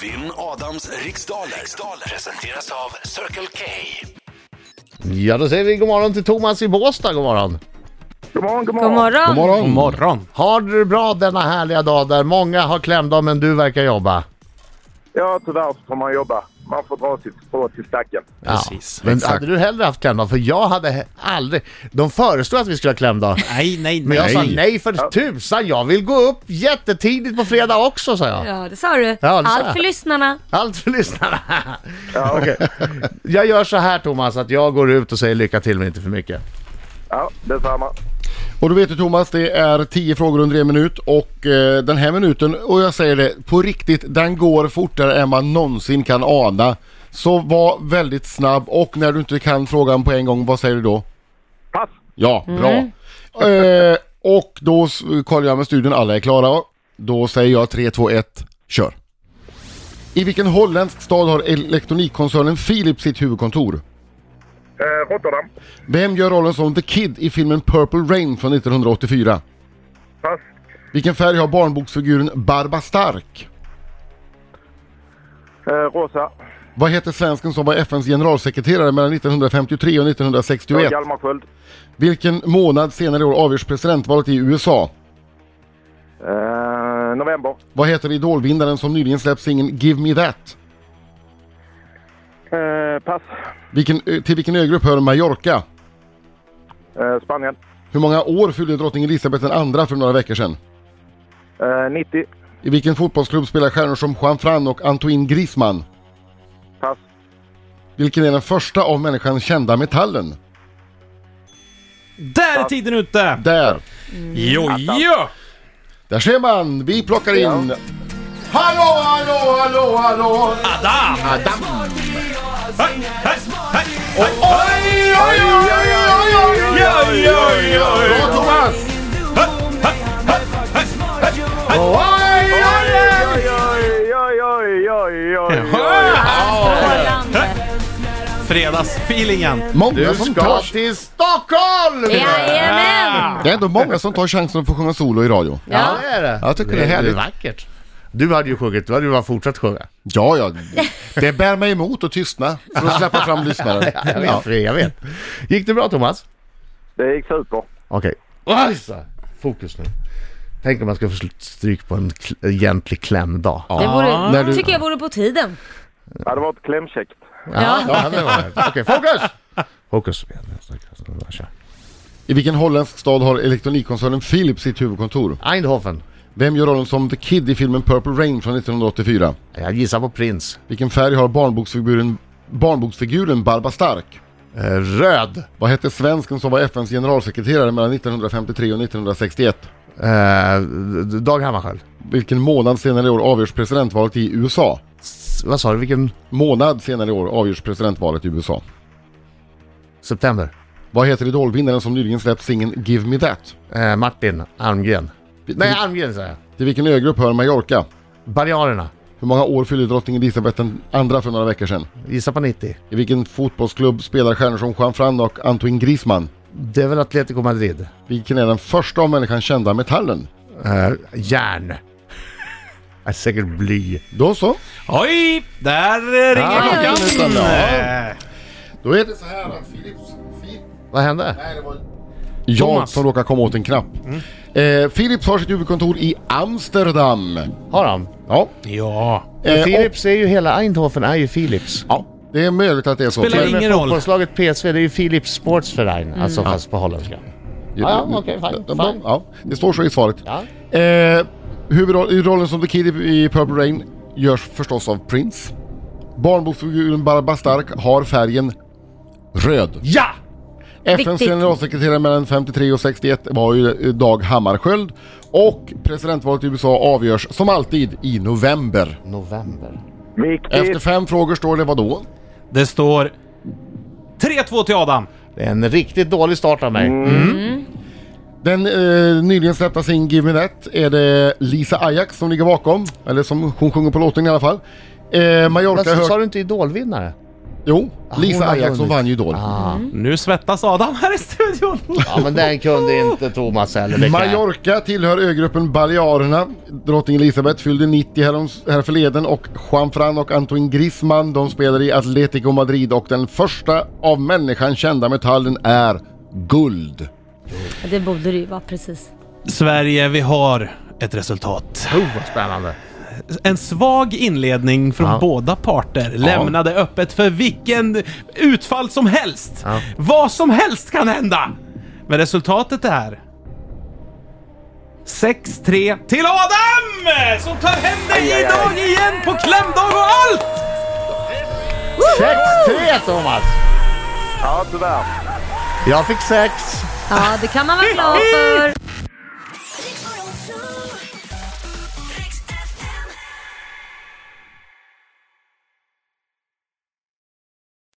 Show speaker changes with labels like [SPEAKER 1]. [SPEAKER 1] Vinn Adams riksdaler. riksdaler presenteras av Circle K.
[SPEAKER 2] Ja, då säger vi god morgon till Thomas i Båstad. God morgon.
[SPEAKER 3] God morgon, god morgon.
[SPEAKER 4] God morgon.
[SPEAKER 5] God morgon. God morgon.
[SPEAKER 2] Har du det bra denna härliga dag där många har klämdag men du verkar jobba?
[SPEAKER 3] Ja, tyvärr så får man jobba. Man får dra sitt strå till stacken.
[SPEAKER 5] Precis.
[SPEAKER 2] Men
[SPEAKER 5] Exakt.
[SPEAKER 2] hade du hellre haft klämdag? För jag hade he- aldrig... De föreslog att vi skulle ha klämdag.
[SPEAKER 5] Nej, nej, nej.
[SPEAKER 2] Men jag sa nej för tusan, jag vill gå upp jättetidigt på fredag också sa jag.
[SPEAKER 4] Ja, det sa du.
[SPEAKER 2] sa jag.
[SPEAKER 4] Allt för lyssnarna.
[SPEAKER 2] Allt för lyssnarna.
[SPEAKER 3] Ja,
[SPEAKER 2] Jag gör så här Thomas, att jag går ut och säger lycka till men inte för mycket.
[SPEAKER 3] ja detsamma.
[SPEAKER 5] Och du vet ju Thomas, det är 10 frågor under en minut och eh, den här minuten, och jag säger det på riktigt, den går fortare än man någonsin kan ana. Så var väldigt snabb och när du inte kan frågan på en gång, vad säger du då?
[SPEAKER 3] Pass!
[SPEAKER 5] Ja, bra. Eh, och då s- kollar jag med studion, alla är klara. Då säger jag 3, 2, 1, kör. I vilken holländsk stad har elektronikkoncernen Philips sitt huvudkontor?
[SPEAKER 3] Eh, Rotterdam.
[SPEAKER 5] Vem gör rollen som The Kid i filmen Purple Rain från 1984?
[SPEAKER 3] Pass.
[SPEAKER 5] Vilken färg har barnboksfiguren Barba Stark?
[SPEAKER 3] Eh, Rosa.
[SPEAKER 5] Vad heter svensken som var FNs generalsekreterare mellan 1953 och 1961?
[SPEAKER 3] Hjalmar Sköld.
[SPEAKER 5] Vilken månad senare i år avgörs presidentvalet i USA?
[SPEAKER 3] Eh, november.
[SPEAKER 5] Vad heter idolvinnaren som nyligen släppt singeln Give Me That?
[SPEAKER 3] Eh, pass.
[SPEAKER 5] Vilken, ö- till vilken ögrupp hör Mallorca?
[SPEAKER 3] Eh, Spanien.
[SPEAKER 5] Hur många år fyllde drottning Elizabeth II för några veckor sedan?
[SPEAKER 3] Eh, 90.
[SPEAKER 5] I vilken fotbollsklubb spelar stjärnor som Juan Fran och Antoine Griezmann?
[SPEAKER 3] Pass.
[SPEAKER 5] Vilken är den första av människan kända metallen?
[SPEAKER 6] Där är tiden ute!
[SPEAKER 5] Där!
[SPEAKER 6] Jojo!
[SPEAKER 5] Där ser man! Vi plockar in... Hallå, hallå, hallå, hallå!
[SPEAKER 6] Adam!
[SPEAKER 5] Adam!
[SPEAKER 6] Hej, hej, hej!
[SPEAKER 5] Oj, oj, oj, oj, oj,
[SPEAKER 6] Oj,
[SPEAKER 5] oj!
[SPEAKER 6] oj, oj!
[SPEAKER 5] Bra Thomas! Oj, oj, oj!
[SPEAKER 3] Oj, oj, oj, oj, oj, oj.
[SPEAKER 4] Strålande.
[SPEAKER 6] Fredagsfeelingen!
[SPEAKER 5] Många
[SPEAKER 2] Du
[SPEAKER 5] som
[SPEAKER 2] ska
[SPEAKER 5] tar...
[SPEAKER 2] till Stockholm!
[SPEAKER 4] Jajamän!
[SPEAKER 5] Det är ändå många som tar chansen att få sjunga solo i radio.
[SPEAKER 2] Ja,
[SPEAKER 4] Ja.
[SPEAKER 2] det är det.
[SPEAKER 5] Jag tycker det är härligt.
[SPEAKER 2] vackert. Du hade ju sjungit, du hade ju bara fortsatt sjunga.
[SPEAKER 5] Ja, ja. Det bär mig emot att tystna för att släppa fram lyssnaren.
[SPEAKER 2] Jag vet,
[SPEAKER 5] Ja.
[SPEAKER 2] jag vet. Gick det bra Thomas?
[SPEAKER 3] Det gick super.
[SPEAKER 2] Okej. Okay. Fokus nu. Tänk om man ska få sl- stryk på en kl- egentlig klämdag.
[SPEAKER 4] Det
[SPEAKER 5] När
[SPEAKER 4] vore,
[SPEAKER 5] du-
[SPEAKER 4] tycker jag vore på tiden.
[SPEAKER 3] Det hade varit klämkäckt.
[SPEAKER 2] Ja, ja det var det. Okej, fokus! Fokus.
[SPEAKER 5] I vilken holländsk stad har elektronikkoncernen Philips sitt huvudkontor?
[SPEAKER 2] Eindhoven.
[SPEAKER 5] Vem gör rollen som The Kid i filmen Purple Rain från 1984?
[SPEAKER 2] Jag gissar på prins.
[SPEAKER 5] Vilken färg har barnboksfiguren, barnboksfiguren Barba Stark?
[SPEAKER 2] Eh, Röd.
[SPEAKER 5] Vad hette svensken som var FNs generalsekreterare mellan 1953 och 1961?
[SPEAKER 2] Eh, Dag Hammarskjöld.
[SPEAKER 5] Vilken månad senare i år avgörs presidentvalet i USA?
[SPEAKER 2] S- Vad sa du, vilken?
[SPEAKER 5] Månad senare i år avgörs presidentvalet i USA.
[SPEAKER 2] September.
[SPEAKER 5] Vad heter idolvinnaren som nyligen släppt singeln Give Me That?
[SPEAKER 2] Eh, Martin Almgren.
[SPEAKER 5] Till-
[SPEAKER 2] Nej, Almgren säger jag.
[SPEAKER 5] Till vilken ögrupp hör Mallorca?
[SPEAKER 2] Barriärerna. II
[SPEAKER 5] Hur många år fyllde drottning Elisabeth II för några veckor sedan?
[SPEAKER 2] Gissa på 90.
[SPEAKER 5] I vilken fotbollsklubb spelar stjärnor som Juan Fran och Antoine Griezmann?
[SPEAKER 2] Det är väl Atletico Madrid.
[SPEAKER 5] Vilken är den första av människan kända metallen?
[SPEAKER 2] Eh, järn. Är säkert bly.
[SPEAKER 5] Då så.
[SPEAKER 6] Oj! Där eh, ringer
[SPEAKER 2] Ah,
[SPEAKER 6] klockan!
[SPEAKER 5] utan det, ja.
[SPEAKER 6] Eh,
[SPEAKER 5] Då är det så här att Philips... Philips
[SPEAKER 2] Vad hände?
[SPEAKER 5] Nej, det var... Jag
[SPEAKER 6] Thomas. Mm.
[SPEAKER 5] som råkar komma åt en knapp. Eh, Philips har sitt huvudkontor i Amsterdam.
[SPEAKER 2] Har han?
[SPEAKER 5] Ja.
[SPEAKER 6] Ja.
[SPEAKER 5] Eh, och,
[SPEAKER 2] Philips är ju hela Eindhoven är ju Philips.
[SPEAKER 5] ja. Det är möjligt att det är så.
[SPEAKER 6] Spelar
[SPEAKER 5] Men-
[SPEAKER 6] ingen
[SPEAKER 2] Men
[SPEAKER 6] roll. Mm.
[SPEAKER 2] Fotbollslaget PSV, det är ju Philips Sportsverein, alltså fast på holländska. Ja, ja, okej, fine,
[SPEAKER 5] Ja, bra.
[SPEAKER 2] fine.
[SPEAKER 5] Ja, det står så i svaret.
[SPEAKER 2] Ja.
[SPEAKER 5] Eh, huvudroll- i rollen som The Kid i i Purple Rain görs förstås av Prince. Barnboksfiguren Barbra Stark har färgen röd.
[SPEAKER 2] Ja!
[SPEAKER 5] FNs
[SPEAKER 4] Viktigt.
[SPEAKER 5] generalsekreterare mellan 53 och 61 var ju eh, Dag Hammarskjöld. Och presidentvalet i USA avgörs som alltid i november.
[SPEAKER 2] November.
[SPEAKER 3] Viktigt.
[SPEAKER 5] Efter fem frågor står det vadå?
[SPEAKER 6] Det står 3-2 till Adam.
[SPEAKER 2] Det är en riktigt dålig start av mig.
[SPEAKER 5] Den eh, nyligen släppta singeln Give Me That är det Lisa Ajax som ligger bakom. Eller som hon sjunger på låten i alla fall. Eh, Mallorca
[SPEAKER 2] Men
[SPEAKER 5] hör...
[SPEAKER 2] sa du inte idolvinnare?
[SPEAKER 5] Jo, Lisa
[SPEAKER 2] hon har
[SPEAKER 5] Ajax hon
[SPEAKER 2] vunnit.
[SPEAKER 5] vann ju Idol.
[SPEAKER 2] Ah.
[SPEAKER 6] Nu svettas Adam här i studion.
[SPEAKER 2] Ja men den kunde inte Thomas heller. det kan jag-
[SPEAKER 5] Mallorca tillhör ögruppen Balearerna. Drottning Elizabeth fyllde 90 häroms- härförleden och Juan Fran och Antoine Griezmann de spelar i Atletico Madrid och den första av människan kända metallen är guld.
[SPEAKER 4] Ja, Det borde det ju vara, precis.
[SPEAKER 6] Sverige, vi har ett resultat.
[SPEAKER 2] Oh vad spännande.
[SPEAKER 6] En svag inledning från båda parter lämnade öppet för vilken utfall som helst.
[SPEAKER 2] Ja.
[SPEAKER 6] Vad som helst kan hända! Men resultatet är... 6-3 till Adam! Som tar hem dig idag igen på klämdag och allt!
[SPEAKER 2] 6-3 Thomas!
[SPEAKER 3] Ja, tyvärr.
[SPEAKER 2] Jag fick 6.
[SPEAKER 4] Ja, det kan man vara glad för.